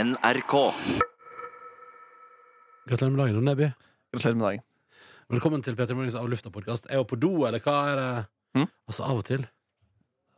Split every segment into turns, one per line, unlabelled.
NRK.
Gratulerer med dagen, Neby.
Gratulerer med dagen.
Velkommen til Peter Morgens Av lufta-podkast. Er hun på do, eller hva er det?
Mm.
Altså, av og til.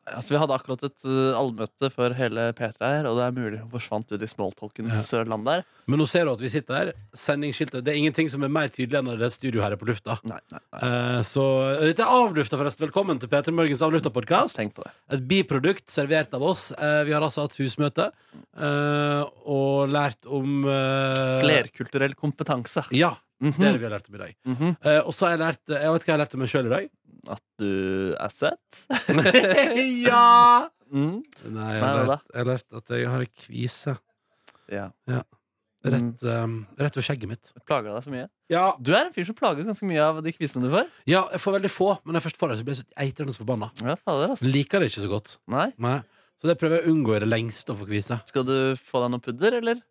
Altså, vi hadde akkurat et eh, allmøte for hele P3 her, og det er mulig hun forsvant ut i smalltalkens eh, land der.
Men nå ser du at vi sitter her. Sendingsskiltet. Det er ingenting som er mer tydelig enn når det er et studio her er på lufta.
Nei, nei, nei.
Eh, så dette er avlufta, forresten. Velkommen til Peter Morgens Av lufta-podkast.
Tenk på det.
Et biprodukt servert av oss. Eh, vi har altså hatt husmøte eh, og lært om eh,
Flerkulturell kompetanse.
Ja.
Mhm.
Det er det vi har lært om i dag.
Mhm.
Eh, og så har jeg lært Jeg vet hva jeg har lært om meg sjøl i dag.
At du er søt.
ja!
Mm.
Nei, jeg
Nei,
har,
hva da?
lært, jeg har lært at jeg har ei kvise.
Ja. Mhm.
Rett, um, rett ved skjegget mitt.
Plager deg så mye.
Ja.
Du er en fyr som plages ganske mye av de kvisene du får.
jeg får veldig få, men når jeg først får det, så blir jeg så eitrende forbanna.
Ja, fader, altså.
Liker det ikke så godt.
Nei.
Nei. Så det prøver jeg å unngå i det lengste å få kvise.
Skal du få deg noe pudder, eller?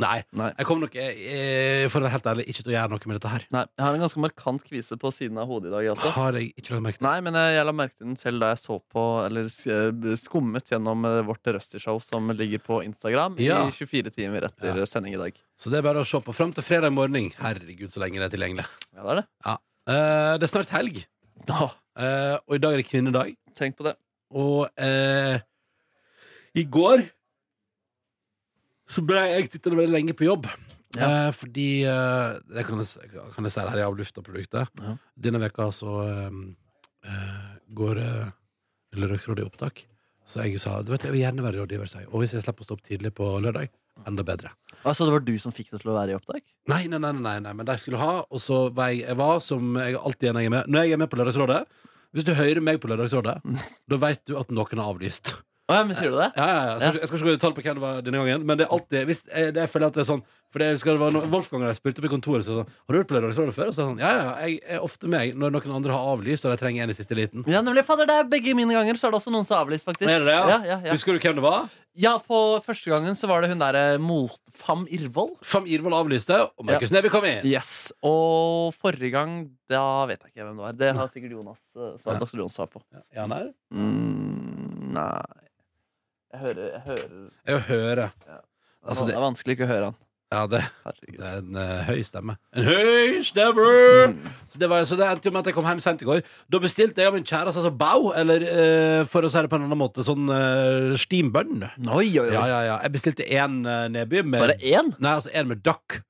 Nei.
Nei.
Jeg kommer nok, eh, eh, for å være helt ærlig, ikke til å gjøre noe med dette her.
Nei, Jeg har en ganske markant kvise på siden av hodet i dag også.
Har jeg ikke lagt merke til.
Altså? Nei, men jeg, jeg la merke til den selv da jeg så på, eller s- eh, skummet gjennom eh, vårt Rusty-show som ligger på Instagram
Ja.
i 24 timer etter
Ja.
sending i dag.
Så det er bare å se på. Fram til fredag morgen. Herregud, så lenge det er tilgjengelig.
Ja, det er det.
Eh, det er snart helg,
Nå,
eh, og i dag er det kvinnedag.
tenk på det.
Og eh, i går så ble jeg sittende veldig lenge på jobb. Eh, fordi eh, det kan jeg, s- kan jeg si det her i Avlufta-produktet.
Ja.
Denne veka så eh, eh, går eh, Lørdagsrådet i opptak. Så jeg sa du vet, jeg vil gjerne være rådgiver. sa jeg. Og hvis jeg slipper å stå opp tidlig på lørdag, enda bedre.
Ah, så det var du som fikk det til å være i opptak?
Nei, nei, nei, nei, nei, nei, men de skulle ha Og så var jeg, jeg var som jeg alltid er når jeg er med Når jeg er med på lørdagsrådet Hvis du hører meg på lørdagsrådet Da vet du at noen har avlyst
Å ja, men sier du det?
ja, ja, ja. Jeg, skal,
Ja.
ikke- jeg skal ikke gå i detalj på hvem det var denne gangen, men det er alltid hvis, jeg, det, jeg føler at det er sånn For det, jeg husker det var noen, Wolfgang og jeg spurte på kontoret så, sa han, Har du hørt på Lørdagsrådet før? Og så sa han ja, ja, jeg er ofte med når noen andre har avlyst og de trenger en i siste liten.
Ja, nemlig, fader, det er begge mine ganger, så er det også noen som er avlyst, faktisk.
Er det det, ja?
ja? Ja, ja,
Husker du hvem det var?
Ja, på første gangen så var det hun derre Motfam Irvold.
Fam Irvold avlyste, og Markus Neby kom inn.
Yes. Og forrige gang, da vet jeg ikke hvem det var. Det har sikkert Jonas eh,
Ja.
svar, Dr. Jonas svar på.
Ja, han er.
Mm, nei Jeg hører, jeg hører.
Jeg hører. Altså,
det...
det-
er vanskelig ikke å høre han.
Ja, det,
Herregud.
det er en eh, høy stemme. En høy stemme!
Mm.
Så det, var, så det endte jo med at jeg kom hjem sent i går. Da bestilte jeg av min kjæreste altså bao, eller eh, for å si det på en annen måte, sånn uh, steambønn.
Oi, oi, oi.
Ja, ja, ja. Jeg bestilte én eh, nedby med
Bare én?
Nei, altså en med duck.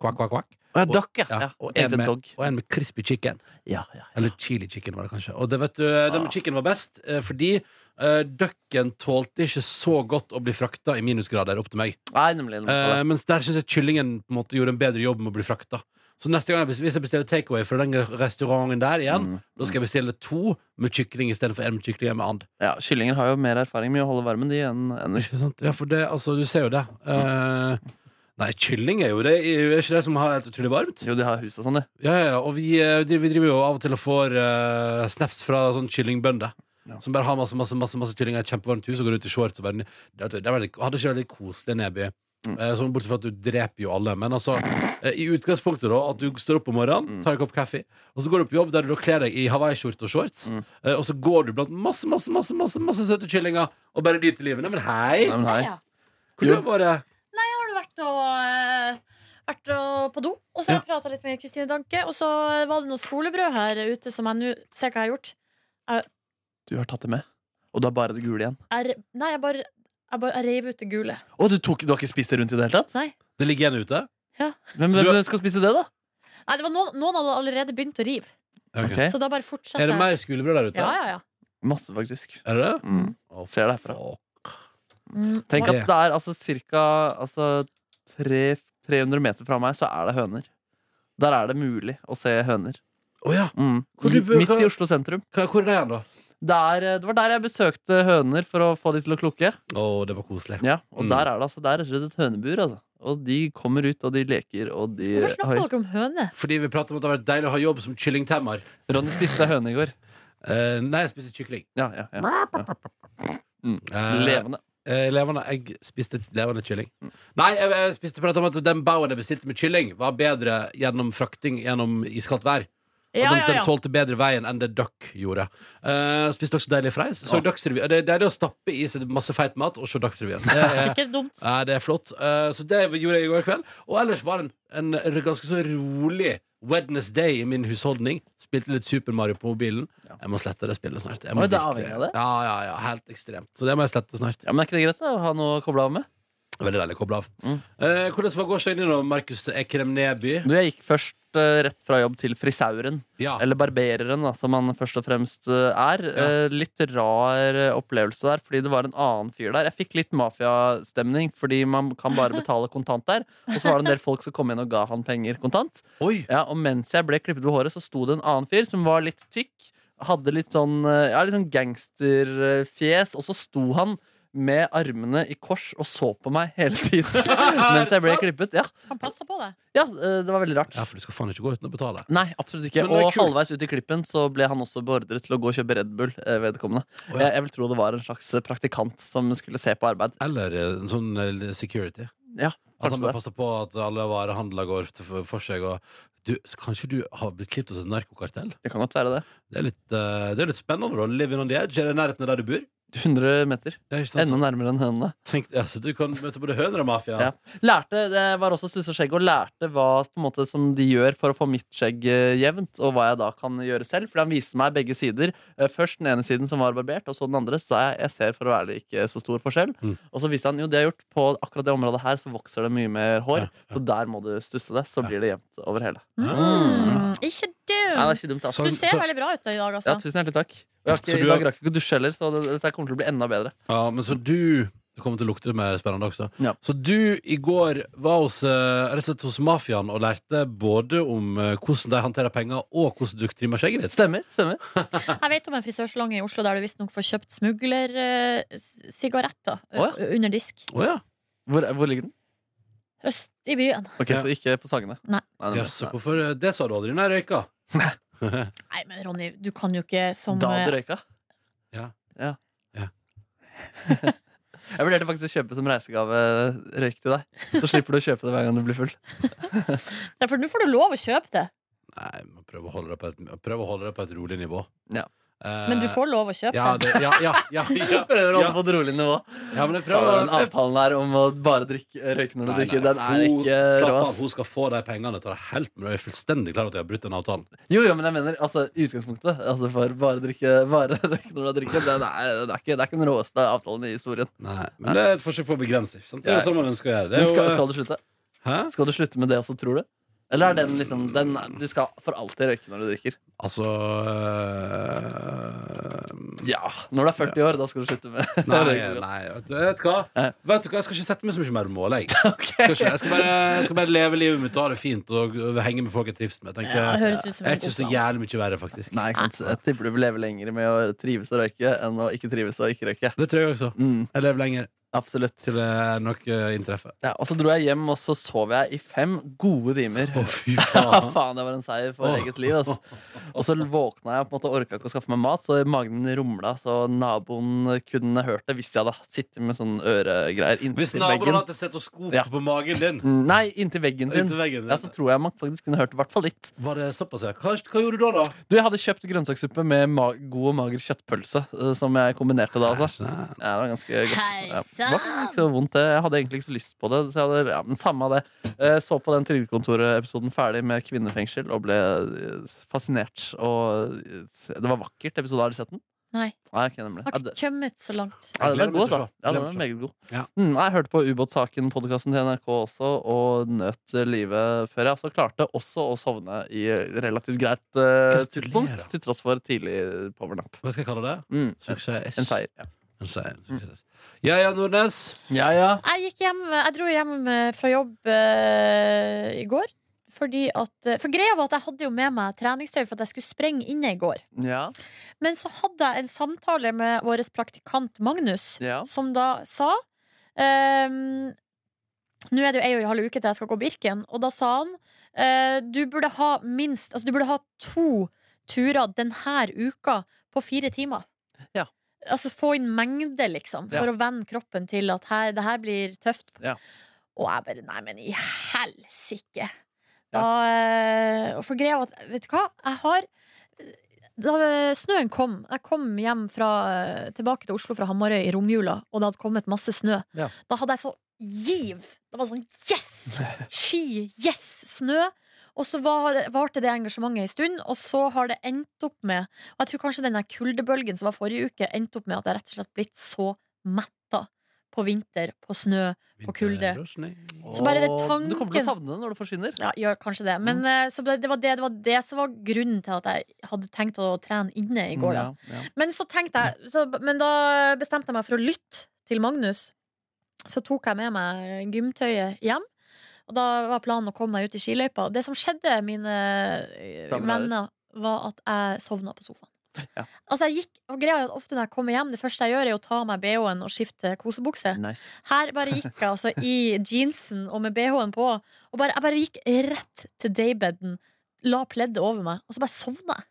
Kvakk, kvakk, kvakk.
Å, ja,
Og-
duck, ja.
Ja,
ja.
og,
Tenkte
en med,
dog.
og en med crispy chicken.
Ja, ja.
Eller chili chicken, var det kanskje. Og det vet du,
Ah.
den med chicken var best, eh, fordi uh, ducken tålte ikke så godt å bli frakta i minusgrader opp til meg.
Nei, nemlig. nemlig.
Eh, mens der syns jeg kyllingen på en måte gjorde en bedre jobb med å bli frakta. Så neste gang jeg bestiller, hvis jeg bestiller takeaway fra den restauranten der igjen,
Mm.
da skal jeg bestille to med kykling istedenfor én med kykling og en med and.
ja, kyllinger har jo mer erfaring med å holde varmen de enn enn-
Ikke sant? Ja, for det, altså, du ser jo det. Eh, nei, kylling er jo det Er ikke det som har helt utrolig varmt?
Jo, de har hus og sånn, de.
Ja, ja, ja, og vi, eh, driver- vi driver jo av og til og får eh, snaps fra sånn kyllingbønder.
Ja.
Som bare har masse masse, masse, masse kyllinger i et kjempevarmt hus og går ut i shorts. Og bare, det, det, var litt- hadde ikke det vært litt koselig, Neby?
Mm.
Eh, sånn bortsett fra at du dreper jo alle. Men altså, eh, i utgangspunktet, da, at du står opp om
Mm.
morgenen, tar en kopp kaffe, og så går du på jobb der du da kler deg i hawaiiskjorte og shorts,
Mm.
eh, og så går du blant masse, masse, masse, masse, masse søte kyllinger og bare nyter livet. Neimen, hei!
Nei, men hei.
Ja.
Hvor
Jo.
du bare
Har du vært, og, eh, vært og på do? Og så har jeg prata litt med Kristine Danke. Og så var det noe skolebrød her ute som jeg nå Se hva jeg har gjort.
Du har tatt det med. Og du har bare det gule igjen.
Jeg, re- nei, jeg bare, jeg bare jeg rev ut det gule.
Å, du, tok, du har ikke spist det rundt i det hele tatt?
Nei.
Det ligger igjen ute?
Hvem,
Så du
hvem
har-
skal spise det, da?
Nei, det var noen, noen hadde allerede begynt å rive.
Ok.
Ok.
Så da bare
Er
fortsetter
det mer skolebrød der ute?
Ja, ja, ja.
Masse, faktisk.
Er det det?
Mm.
Å,
Ser det herfra.
fuck.
Mm.
Ok.
Tenk at det er altså cirka altså, tre, 300 meter fra meg, så er det høner. Der er det mulig å se høner.
Å ja.
Mm.
Hvor du bør-
Midt i Oslo sentrum.
Hva- Hvor er det igjen, da?
Det er- eh, det var der jeg besøkte høner for å få de til å klukke.
Å, det var koselig.
Ja, og
Mm.
der er det altså, der er rett og slett et hønebur. Altså. Og de kommer ut, og de leker, og de
Hvorfor snakker
Oi,
dere om høne?
Fordi vi pratet om at det har vært deilig å ha jobb som kyllingtemmer.
Ronny spiste høne i går.
Eh, nei, jeg spiste kykling.
Ja, ja, ja.
Eh,
Levende. Mm.
eh, levende. Jeg spiste levende kylling. Nei, jeg, jeg spiste prat om at den baugen jeg bestilte med kylling, var bedre gjennom frakting gjennom iskaldt vær. At
Ja,
den,
ja,
den
ja.
tålte bedre veien enn det dere gjorde. Eh, spiste også deilig freis. Så
Ja.
Dagsrevyen. Det, det er det å stappe i seg masse feit mat og se Dagsrevyen. Det er,
Ikke dumt.
Nei, det er flott. Eh, så det gjorde jeg i går kveld. Og ellers var det en, en ganske så rolig Wednesday i min husholdning. Spilte litt Super Mario på mobilen.
Ja.
Jeg må slette det spillet snart. Jeg
Oi,
må
det er
virkelig-
avhengig av det?
Ja, ja, ja, helt ekstremt. Så det må jeg slette snart.
Ja, men Er ikke det greit da, å ha noe å koble av med?
Veldig deilig å koble av.
Mm.
Eh, hvordan var gårsdagen din, da, Markus Ekrem Neby?
Du, Jeg gikk først eh, rett fra jobb til frisauren.
Ja.
Eller barbereren, da, som han først og fremst eh, er. Eh, Litt rar eh, opplevelse der, fordi det var en annen fyr der. Jeg fikk litt mafiastemning, fordi man kan bare betale kontant der. Og så var det en del folk som kom inn og ga han penger kontant.
Oi!
Ja, Og mens jeg ble klippet på håret, så sto det en annen fyr som var litt tykk. Hadde litt sånn, eh, ja, litt sånn gangsterfjes, og så sto han med armene i kors og så på meg hele tiden mens jeg ble
sant?
klippet. Ja,
Han passer på det.
ja eh, det var veldig rart.
Ja, for du skal faen ikke gå uten å betale.
Nei, absolutt ikke.
Men det er
Og
kult.
halvveis ut i klippen så ble han også beordret til å gå og kjøpe Red Bull. eh, vedkommende
Å, ja.
jeg, jeg vil tro det var en slags eh, praktikant som skulle se på arbeid.
Eller eh, en sånn eh, security.
Ja,
At han
kanskje
bør
det.
passe på at alle varehandler går til for- for seg. Og du, kanskje du har blitt klippet hos et narkokartell?
Det kan godt være det.
Det er litt, eh, det er litt spennende da. Live in on the edge. Er det i nærheten av der du bor?
100 meter.
Ja, ikke sant?
Enda nærmere enn hønene.
Tenk, ja, så du kan møte både høner og mafia.
Ja. Lærte, det var også stuss og skjegg, og lærte hva på en måte, som de gjør for å få mitt skjegg eh, jevnt, og hva jeg da kan gjøre selv. Fordi han viste meg begge sider. Eh, Først den ene siden som var barbert, og så den andre. Så sa jeg jeg ser for å være ærlig ikke så stor forskjell.
Mm.
Og så viste han jo det jeg har gjort. På akkurat det området her så vokser det mye mer hår.
Ja,
Så der må du stusse det. Så blir det jevnt over hele.
Mm. Ikke
Nei, Ah. det er
dumt.
ikke dumt, altså.
Så-
Du ser
så-
veldig bra ut da i dag,
Ja,
altså.
tusen hjertelig takk. Og Jeg har
Så
ikke,
du
I dag
har-
rakk jeg ikke å dusje heller, så det, dette kommer til å bli enda bedre.
Ja, men så du Det kommer til å lukte mer spennende også.
Ja.
Så du i går var hos, eh, rett og slett hos mafiaen og lærte både om eh, hvordan de håndterer penger, og hvordan du trimmer skjegget ditt.
Stemmer. stemmer
Jeg vet om en frisørsalong i Oslo der du visstnok får kjøpt eh, smuglersigaretter
Å,
under disk.
Å ja.
Hvor, hvor ligger den?
Øst i byen.
Ok,
Ja.
Så ikke på Sagene.
Nei.
nei,
ja.
nei.
Så hvorfor eh, Det sa du aldri. Nei, røyka.
Nei, men Ronny, du kan jo ikke som eh,
Da hadde røyka.
Ja.
ja.
Ja.
jeg vurderte faktisk å kjøpe som reisegave røyk til deg. Så slipper du å kjøpe det hver gang du blir full.
Ja, for nå får du lov å kjøpe det.
Nei, må prøve å holde det på et, prøve å holde det på et rolig nivå.
Ja.
Eh,
Men du får lov å kjøpe
ja,
det.
det, ja, ja, ja, ja,
Prøver å holde
ja.
på et rolig nivå.
ja, men jeg
Ja,
prøver
Den avtalen her om å bare drikke, eh, røyke når du
Nei, nei,
drikker, den er
hun-
ikke
Slapp
rå.
av,
ass.
hun skal få de pengene. Tar det helt med. Jeg er fullstendig klar over at jeg har brutt den avtalen.
Jo, jo, men jeg mener altså, i utgangspunktet. Altså, for bare drikke, bare røyke når du har drukket, den er, det, er ikke, det er ikke den råeste avtalen i historien.
Nei, men det er et forsøk på å begrense. Ikke sant? Det er jo
Ja.
sånn man ønsker å gjøre. Det
Men
er jo,
skal, skal du slutte?
Hæ?
Skal du slutte med det også, tror du? Eller er den liksom den, Du skal for alltid røyke når du drikker?
Altså øh,
Ja. Når du er 40 år, da skal du slutte med
Nei,
røyking.
nei vet, du, vet, du hva?
Eh.
vet du hva? Jeg skal ikke sette meg så mye mer mål. Jeg, skal ikke, jeg, skal bare, jeg skal bare leve livet mitt og ha det fint og henge med folk jeg trives med. Jeg, tenker,
Ja, det høres ut
jeg er
som en
ikke
god
så
plan.
jævlig mye verre, faktisk.
Nei, ikke sant? Jeg tipper du vil leve lenger med å trives og røyke enn å ikke trives og ikke røyke.
Det tror jeg også.
Mm,
Jeg lever lenger
absolutt.
til det er nok uh, inntreffer.
Ja, og så dro jeg hjem, og så sov jeg i fem gode timer.
Å, fy
Ja,
faen.
faen, det var en seier for eget liv. Ass. Og så våkna jeg på en måte og orka ikke å skaffe meg mat, så magen min rumla, så naboen kunne hørt det hvis jeg hadde sittet med sånn øregreier
Hvis
inntil
naboen
veggen.
hadde hatt et stetoskop
Ja.
på magen din
Mm, Nei, inntil veggen sin.
Inntil veggen din.
Ja, så tror jeg man faktisk kunne hørt i hvert fall litt.
Var det såpass, ja? Hva, hva gjorde du da, da?
Du, jeg hadde kjøpt grønnsakssuppe med ma god og mager kjøttpølse, eh, som jeg kombinerte da, altså.
Nei.
Ja, det var ganske godt. Ja.
Hei sann!
Det var ikke så vondt, det. Jeg hadde egentlig ikke så lyst på det. Så jeg hadde, ja, men samme av det. Eh, Så på den Trygdekontoret-episoden ferdig med kvinnefengsel og ble eh, fascinert. Og eh, det var vakkert. Episode, har du sett den?
Nei.
Nei, ikke nemlig.
Har
Ja,
ikke
det-
kommet så langt.
ja, den
Jeg gleder
er
meg
god,
til å
da.
se.
Ja, den
Gleder meg
er
til å
meget god.
Ja.
Mm, jeg hørte på Ubåtsaken-podkasten til NRK også, og nøt eh, livet før jeg altså klarte også å sovne i relativt greit eh,
Gratulerer.
tidspunkt, til tross for tidlig powernap.
Hva skal jeg kalle det?
Mm,
Suksess.
en seier. Ja.
En seier. Suksess. Ja, ja, Nordnes.
ja, ja.
Jeg gikk hjem Jeg dro hjem eh, fra jobb eh, i går. Fordi at eh, For greia var at jeg hadde jo med meg treningstøy for at jeg skulle sprenge inne i går.
ja,
Men så hadde jeg en samtale med vår praktikant Magnus,
ja.
som da sa ehm, Nå er det jo ei og en halv uke til jeg skal gå Birken, og da sa han eh, du burde ha minst Altså, du burde ha to turer denne uka på fire timer.
Ja.
Altså få inn mengde, liksom, for
Ja.
å vende kroppen til at her, det her blir tøft.
Ja.
Og jeg bare Nei, men i helsike! Da, eh, og for greia var at, vet du hva, jeg har da eh, snøen kom Jeg kom hjem fra, eh, tilbake til Oslo fra Hamarøy i romjula, og det hadde kommet masse snø.
Ja.
Da hadde jeg så giv! Da var det sånn yes! Ski! Yes! Snø! Og så var- varte det engasjementet en stund, og så har det endt opp med Og jeg tror kanskje den der kuldebølgen som var forrige uke, endte opp med at jeg rett og slett blitt så metta på vinter, på snø, på kulde. Så bare det
Åh, Du kommer til å
tanken-
savne det når det forsvinner.
Ja, gjør kanskje det. Men
Mm.
eh, så det, det, var det, det var det som var grunnen til at jeg hadde tenkt å trene inne i går. Da.
Mm, ja, ja.
Men så tenkte jeg så, Men da bestemte jeg meg for å lytte til Magnus. Så tok jeg med meg gymtøyet hjem. Og da var planen å komme meg ut i skiløypa. Det som skjedde, mine eh,
Kamerater.
venner, var at jeg sovna på sofaen.
Ja.
Altså jeg gikk, og greia er at Ofte når jeg kommer hjem, det første jeg gjør, er å ta av meg BH-en og skifte kosebukse.
Nice.
Her bare gikk jeg altså i jeansen og med BH-en på. Og bare, jeg bare gikk rett til daybeden, la pleddet over meg, og så bare sovna jeg.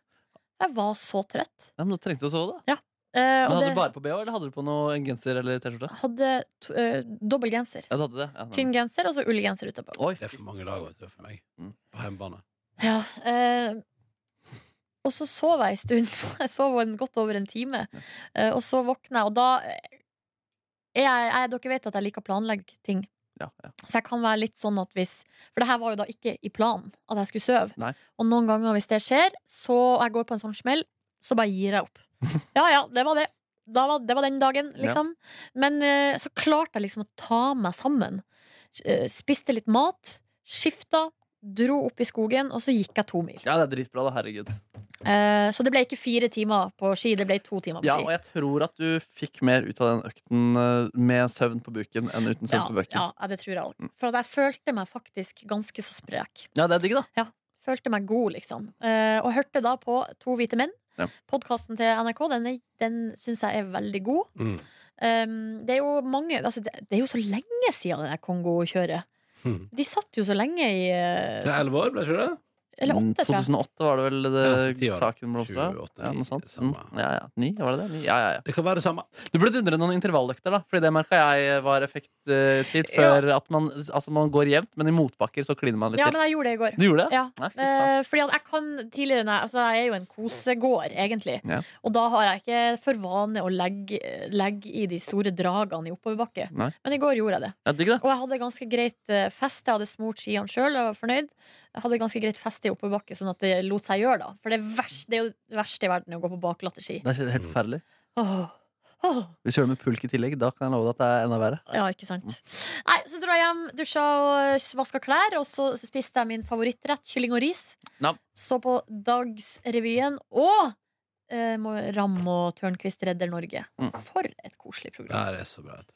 Jeg var så trøtt.
Ja, men da trengte du å sove, da.
Eh,
Men
og
hadde
det
du bare på BH, eller hadde du på noe, en genser eller T-skjorte?
hadde t eh, dobbel genser.
Ja, du hadde det. Ja, nei, nei.
Tynn genser og så ullgenser utapå.
Oi,
Det er for mange lag vet du, for meg.
Mm.
På hjemmebane.
Ja, eh, og så sov jeg en stund. Jeg sov en godt over en time. Eh, og så våkna jeg, og da eh, er jeg, jeg, Dere vet at jeg liker å planlegge ting.
ja, ja.
Så jeg kan være litt sånn at hvis For det her var jo da ikke i planen at jeg skulle sove.
Nei.
Og noen ganger hvis det skjer, så og jeg går på en sånn smell, så bare gir jeg opp. Ja ja, det var det. Da var, det var den dagen, liksom. Men eh, så klarte jeg liksom å ta meg sammen. Eh, Spiste litt mat, skifta, dro opp i skogen, og så gikk jeg to mil.
ja, det er dritbra, da. Herregud.
Eh, så det ble ikke fire timer på ski, det ble to timer på
Ja,
ski.
og jeg tror at du fikk mer ut av den økten eh, med søvn på buken enn uten søvn på Mm. buken.
ja, ja, det tror jeg òg. For at jeg følte meg faktisk ganske så sprek.
Ja, det er digg, da.
Følte meg god, liksom. Eh, og hørte da på To hvite menn.
Ja.
Podkasten til NRK den, er- den syns jeg er veldig god.
Mm.
Um, det er jo mange altså, det, det er jo så lenge siden det der Kongo-kjøret.
Mhm.
De satt jo så lenge i eh,
Det er elleve år, ble det ikke det?
Eller
Mm,
åtte, tror jeg.
2008 var det vel det,
Ja, altså, ti år.
Eh, saken blomstra?
28,
Ja, noe
det
sånt. Mm,
samme.
ja, ja. Ni, var det det? Ni? Ja, ja, ja.
Det kan være det samme.
Du burde dundre noen intervalløkter, da. Fordi det merka jeg var effektivt
Ja.
før. At man, altså, man går jevnt, men i motbakker så kliner man litt
Ja,
til.
men jeg gjorde det i går.
Du gjorde det?
Ja.
Nei, fy faen.
Eh, fordi at jeg kan tidligere nei, altså Jeg er jo en kosegård, egentlig.
Ja.
Og da har jeg ikke for vane å legge, legge i de store dragene i oppoverbakke.
Nei.
Men i går gjorde jeg det.
Ja, digg, da.
Og jeg hadde ganske greit eh, feste. Jeg hadde smurt skiene sjøl og var fornøyd. Jeg hadde ganske greit feste i oppoverbakke, sånn at det lot seg gjøre, da. For det, verste, det er jo det verste i verden å gå på baklatte ski.
Det er helt forferdelig.
Åh. Åh.
Hvis du kjører med pulk i tillegg, da kan jeg love deg at det er enda verre.
Ja, ikke sant. Nei, så dro jeg hjem, dusja og vaska klær, og så spiste jeg min favorittrett, kylling og ris.
Nam.
Så på Dagsrevyen og eh, må- Ramm og Tørnquist redder Norge.
Mm.
For et koselig
Det
program.
her er så bra. vet du.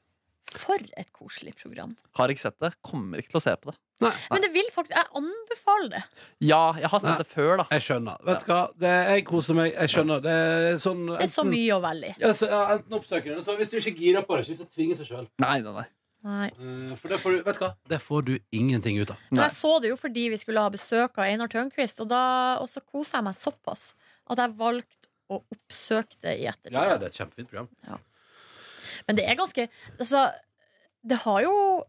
For et koselig program.
Har ikke sett det. Kommer ikke til å se på det.
Men det vil faktisk Jeg anbefaler det.
Ja, jeg har sett
Nei.
det før, da.
Jeg skjønner. Vet du hva? Det, jeg koser meg. Jeg skjønner. Det er sånn
Det er så
enten-
mye å velge i.
Ja, så, ja, enten oppsøker du det, så hvis du ikke girer på det, så hvis du tvinger seg sjøl.
Nei, nei, nei.
Nei.
For det får du, vet du hva? Det får du ingenting ut av.
Men
Nei.
jeg så det jo fordi vi skulle ha besøk av Einar Tørnquist, og, da, og så kosa jeg meg såpass at jeg valgte å oppsøke det i ettertid.
Ja, ja, det er et kjempefint program.
Men det er ganske altså, det, har jo,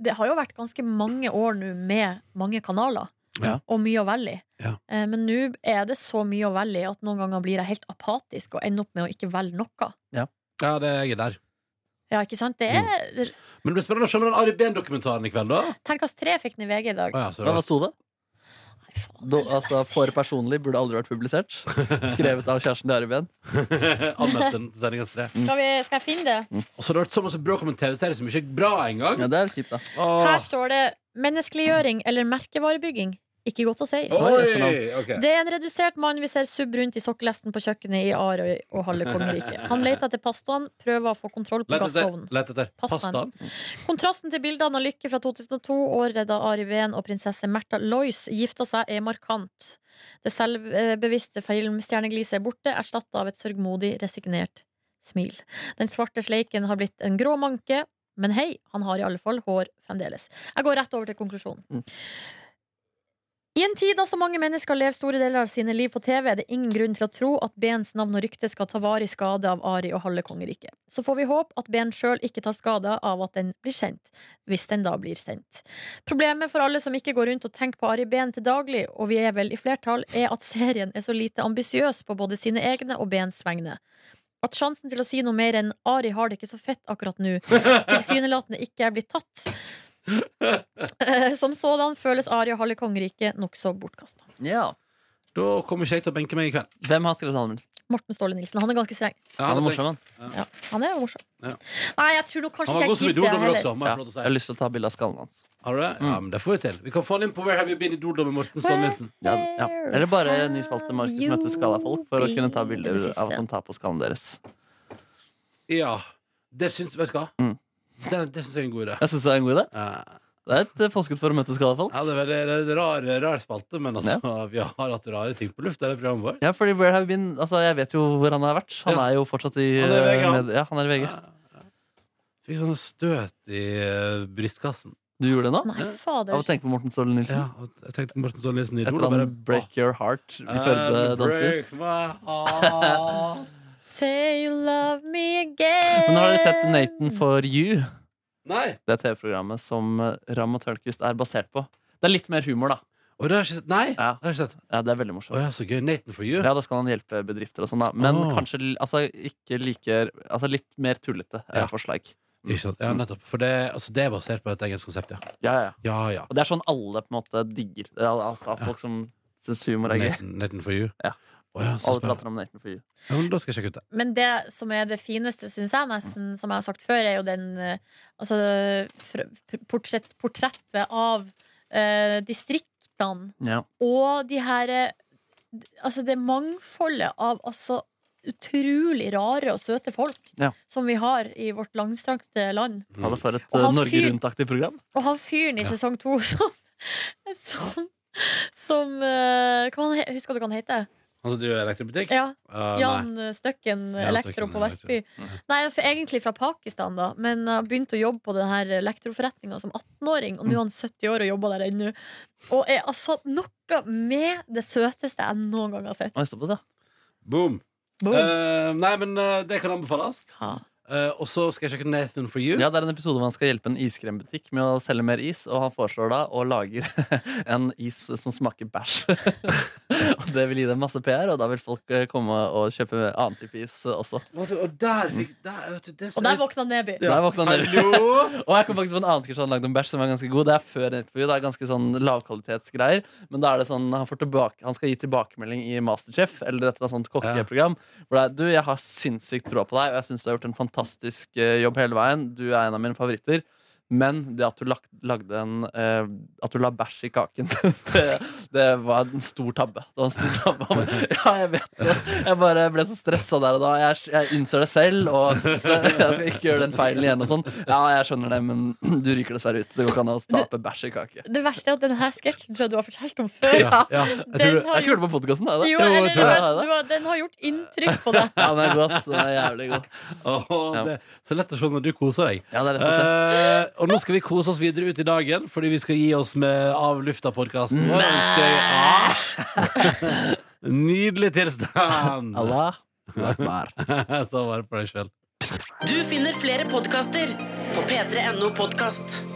det har jo vært ganske mange år nå med mange kanaler.
Ja.
Og mye å velge i.
Ja.
Eh, Men nå er det så mye å velge i at noen ganger blir jeg helt apatisk og ender opp med å ikke velge noe.
Ja, det er jeg er der.
Ja, ikke sant? Det er
Men det blir spennende å se den Ari Behn-dokumentaren i kveld, da.
Terningkast tre fikk den i VG i dag.
Å, ja, så det
Hva
var-
hva sto det?
Nei, faen.
Do, altså, for personlig burde aldri vært publisert. Skrevet av kjæresten til Arben.
Anmeldt den til sendingens tre.
Skal, vi, skal jeg finne det?
Og så har det vært så masse bråk om en TV-serie som ikke er bra engang.
Ja, det er kjipt, da.
Her står det 'menneskeliggjøring eller merkevarebygging'. Ikke godt å si.
Oi! ok.
Det er en redusert mann vi ser subbe rundt i sokkelesten på kjøkkenet i Arøy og halve kongeriket. Han leter etter pastaen, prøver å få kontroll på
Let etter.
gassovnen.
Let etter.
Pastaen.
Pastaen.
Kontrasten til bildene av Lykke fra 2002 og Redda Ari Behn og prinsesse Märtha Lois gifta seg er markant. Det selvbevisste filmstjernegliset er borte, erstatta av et sørgmodig, resignert smil. Den svarte sleiken har blitt en grå manke, men hei, han har i alle fall hår fremdeles. Jeg går rett over til konklusjonen.
Mm.
I en tid da så mange mennesker lever store deler av sine liv på TV, er det ingen grunn til å tro at Bens navn og rykte skal ta varig skade av Ari og halve kongeriket. Så får vi håpe at Ben sjøl ikke tar skade av at den blir sendt, hvis den da blir sendt. Problemet for alle som ikke går rundt og tenker på Ari Ben til daglig, og vi er vel i flertall, er at serien er så lite ambisiøs på både sine egne og Bens vegne. At sjansen til å si noe mer enn 'Ari har det ikke så fett akkurat nå', tilsynelatende ikke er blitt tatt. Eh, Som sådan føles Ari og halve kongeriket nokså bortkasta.
Ja.
Da kommer ikke jeg til å benke meg i kveld.
Hvem har skrevet anmeldelsen?
Morten Ståle Nilsen. Han er ganske streng.
Ja,
Han er
altså,
morsom, han.
Ja, han er jo morsom.
Ja.
Nei, jeg tror nok kanskje
Han var
ikke
god som i
jeg gidder
Doldom
heller.
også, må
Ja. Mm.
jeg få lov
Jeg
til å
har
si.
lyst til å ta bilde av skallen hans.
Har du det? Ja, men det får vi til. Vi kan få han inn på Where Have You Been i Doldom med Morten Stålnesen.
Ja, ja.
Where
Eller bare ny spalte Markus
have
møter skalla folk for å
you
kunne ta
been
bilder
i det
av at
siste?
han tar på skallen deres.
Ja. Det syns Vet du hva?
Mm.
Det, det syns jeg er en god idé.
Jeg syns det er en god idé.
Eh,
Det er et eh, påskudd for å møte skalla folk.
Ja, det er veldig det er en rar, rar spalte, men altså, vi har hatt rare ting på luft. Det er det programmet vårt.
Ja, fordi Where Have You Been altså, Jeg vet jo hvor han har vært. Han
Ja.
er jo fortsatt i
Han er i VG,
eh,
han.
med- Ja, han er i VG.
Ja. Fikk sånn støt i eh, brystkassen.
Du gjorde det nå?
Nei,
Av å
fader.
tenke på Morten Ståle Nilsen?
Ja, og jeg tenkte Morten Stålnesen i
Etter
Idol.
at
og bare,
han Break Your Heart
«Åh, Eh,
ifølge
break
Dansis.
my heart».
Say you love me again.
Men har dere sett Nathan for You?
Nei!
Det er TV-programmet som eh, Ram og Tørnquist er basert på. Det er litt mer humor, da.
Og det har jeg ikke sett. Nei!
Ja.
Det har jeg ikke sett.
Ja, det er veldig morsomt.
Å ja, så gøy. Nathan for you.
Ja, da skal han hjelpe bedrifter og sånn, da. Men
Åh.
kanskje l- altså, ikke like Altså litt mer tullete er
Ja.
forslag.
Ikke sant? Ja, nettopp. For det, altså, det er basert på et engelsk konsept, ja.
Ja, ja.
Ja, ja.
Og det er sånn alle på en måte digger. Det er al- Altså folk som syns humor er gøy.
Nathan, Nathan for you.
Ja.
Å ja, så
Alle
spennende.
prater om Nathan for you.
Ja, men da skal jeg sjekke ut det.
Men det som er det fineste, syns jeg nesten, som jeg har sagt før, er jo den eh, Altså fr- p- portrett, portrettet av eh, distriktene
Ja.
og de her eh, d- Altså det mangfoldet av altså utrolig rare og søte folk
Ja.
som vi har i vårt langstrakte land.
Ja, det for et
Og
eh,
han
Norge
fyr-
Rundt-aktig program.
Og han fyren i
Ja.
sesong to som Som, som eh, hva han, he- Husker du hva han heter?
Han som driver elektrobutikk?
Ja,
Eh, nei.
Jan Støkken,
Ja,
elektro
Støkken,
på Vestby. Nei, for, egentlig fra Pakistan, da, men jeg begynte å jobbe på den her elektroforretninga som 18-åring, og nå er han 70 år og jobber der ennå. Og er altså noe med det søteste jeg noen gang har sett.
Oi, såpass, ja.
Boom!
Boom.
Eh, nei, men eh, det kan anbefales.
Ja.
Eh, og så skal jeg sjekke Nathan for you.
ja, Det er en episode hvor han skal hjelpe en iskrembutikk med å selge mer is, og han foreslår da å lage en is som smaker bæsj. og det vil gi dem masse PR, og da vil folk eh, komme og kjøpe annen type is eh, også.
Vet du, Og der fikk der, vet du, det
Og der våkna Neby.
Der våkna han ned.
Hallo!
Og jeg kom faktisk på en annen sketsj han lagde om bæsj som var ganske god. Det er før intervju. Det er ganske sånn lavkvalitetsgreier. Men da er det sånn han, får tilbake, han skal gi tilbakemelding i Masterchef eller et eller annet sånt kokkeprogram. Hvor det er, du, jeg har sinnssykt troa på deg, og jeg syns du har gjort en fantastisk eh, jobb hele veien. Du er en av mine favoritter. Men det at du, lag, lagde en, eh, at du la bæsj i kaken, det, det var en stor tabbe. Det var en stor tabbe. Ja, jeg vet det. Jeg bare ble så stressa der og da. Jeg, jeg innser det selv, og jeg skal ikke gjøre den feilen igjen. og sånn Ja, jeg skjønner det, men du ryker dessverre ut. Det går ikke an å stape bæsj i kake.
Det verste er at denne sketsjen tror jeg du har fortalt om før.
Ja, ja. Jeg tror
Den
det-
Jeg har
har
ikke
gjort
hørt på podkasten, har jeg det?
jo, eller,
jeg tror jeg
men
har
du
det.
har, den har gjort inntrykk på deg.
Ja, den er god, ass. Den er jævlig god.
Åh, det, så lett å se når du koser deg.
Ja, det er lett å se.
Eh, og nå skal vi kose oss videre ut i dagen, fordi vi skal gi oss med Av lufta-podkasten. vår. Ønsker jeg- Ah! Nydelig tilstand!
Allah.
Ta vare på deg sjøl.
Du finner flere podkaster på p3.no podkast.